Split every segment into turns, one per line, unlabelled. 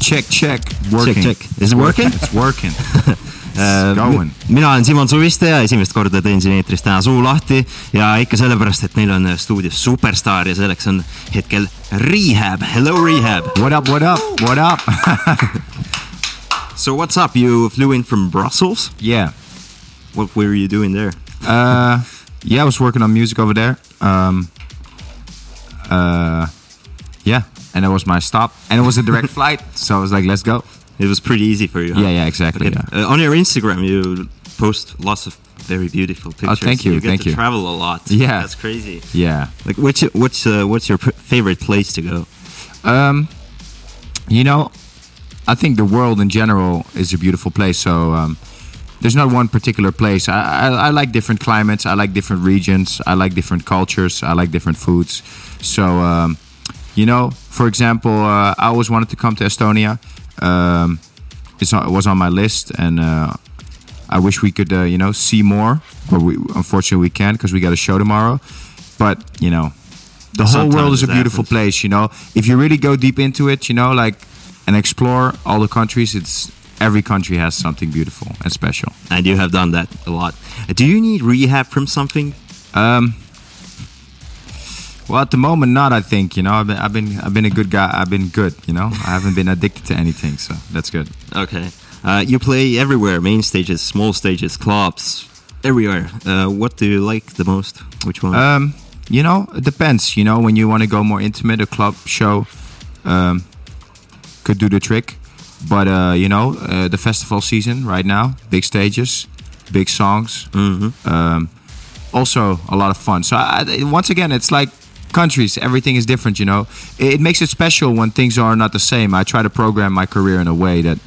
check , check , working .
Check, check. Is it working?
It's working Um, It's going .
mina olen Simon Suviste ja esimest korda teen siin eetris täna suu lahti ja ikka sellepärast , et neil on stuudios superstaar ja selleks on hetkel Rehab , hello Rehab .
What up , what up , what up ?
So what's up , you flew in from Brussels ,
Yeah
what were you doing there ?
uh, yeah, I was working on music over there. Um, uh, yeah, and that was my stop, and it was a direct flight, so I was like, "Let's go."
It was pretty easy for you huh?
Yeah, yeah, exactly.
Okay.
Yeah.
Uh, on your Instagram, you post lots of very beautiful pictures.
Oh, thank you,
You get
thank
to
you.
travel a lot.
Yeah.
that's crazy.
yeah.
Like, what's your, what's uh, what's your pr- favorite place to go?
Um, you know, I think the world in general is a beautiful place. So um, there's not one particular place. I, I, I like different climates. I like different regions. I like different cultures. I like different foods. So um, you know, for example, uh, I always wanted to come to Estonia. Um, it's on, it was on my list, and uh, I wish we could, uh, you know, see more. But we unfortunately we can't because we got a show tomorrow. But you know, the whole
Sometimes
world is a
it
beautiful
happens.
place. You know, if you really go deep into it, you know, like and explore all the countries, it's every country has something beautiful and special.
And you have done that a lot. Uh, Do you need rehab from something?
Well, at the moment, not. I think you know, I've been, I've been, I've been a good guy. I've been good. You know, I haven't been addicted to anything, so that's good.
Okay, uh, you play everywhere: main stages, small stages, clubs, everywhere. Uh, what do you like the most? Which one?
Um, you know, it depends. You know, when you want to go more intimate, a club show um, could do the trick. But uh, you know, uh, the festival season right now, big stages, big songs,
Mhm.
um, also a lot of fun. So I, I- once again, it's like countries. Everything is different. You know, it, it makes it special when things are not the same. I try to program my career in a way that,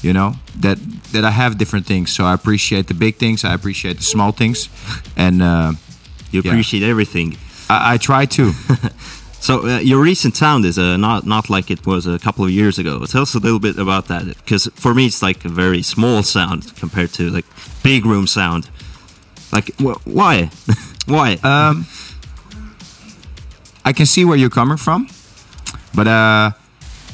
you know, that that I have different things. So I appreciate the big things. I appreciate the small things, and. Uh,
you
yeah.
appreciate everything.
I, I try to.
So uh, your recent sound is uh, not not like it was a couple of years ago. Tell us a little bit about that, because for me it's like a very small sound compared to like big room sound. Like wh- why, why?
Um, I can see where you're coming from, but uh,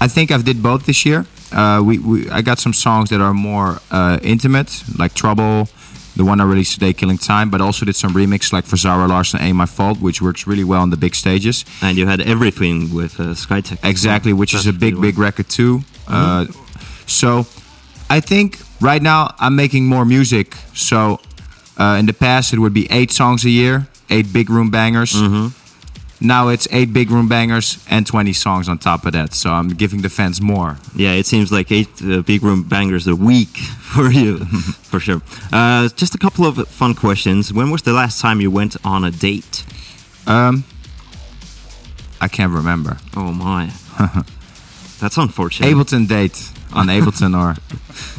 I think I've did both this year. Uh, we, we I got some songs that are more uh, intimate, like Trouble, the one I released today, Killing Time, but also did some remix like for Zara Larson, Ain't My Fault, which works really well on the big stages.
and you had everything with uh, Skytech.
Exactly, which is a
That's
big,
pretty Mm-hmm.
big record too. Uh, so I think right now I'm making more music. So uh, in the past it would be eight songs a year, eight big room bangers.
Mm-hmm.
Now it's eight big room bangers and 20 songs on top of that. So I'm giving the fans more.
well. Yeah, it seems like eight uh, big room bangers a week for you, for sure. Uh, just a couple of fun questions. When was the last time you went on a date?
I can't remember.
Oh my, that's unfortunate.
Ableton date on Ableton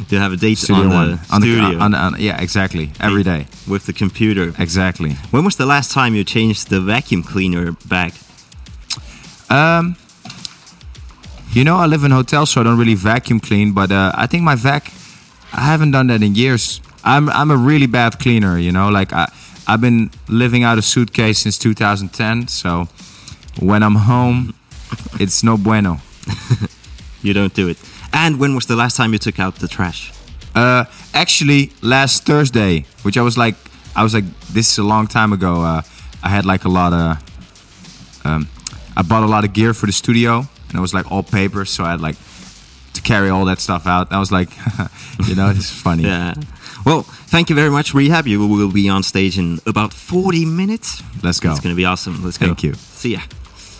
or
you have a date
Studio
on the
One. On the-
studio
on the- on- yeah, exactly. Every day.
with the computer.
Exactly.
When was the last time you changed the vacuum cleaner back?
Um, you know, I live in hotels, so I don't really vacuum clean. But uh, I think my vac, I haven't done that in years. I'm I'm a really bad cleaner. You know, like I I've been living out a suitcase since 2010. So when I'm home, it's no bueno.
You don't do it. And when was the last time you took out the trash?
Uh, actually, last Thursday, which I was like, I was like, this is a long time ago. Uh, I had like a lot of, um, I bought a lot of gear for the studio, and it was like all paper, so I had like to carry all that stuff out. I was like, you know, it's funny.
Yeah. Well, thank you very much, Rehab. You will be on stage in about 40 minutes.
Let's go.
It's going to be awesome. Let's go.
Thank you.
See ya.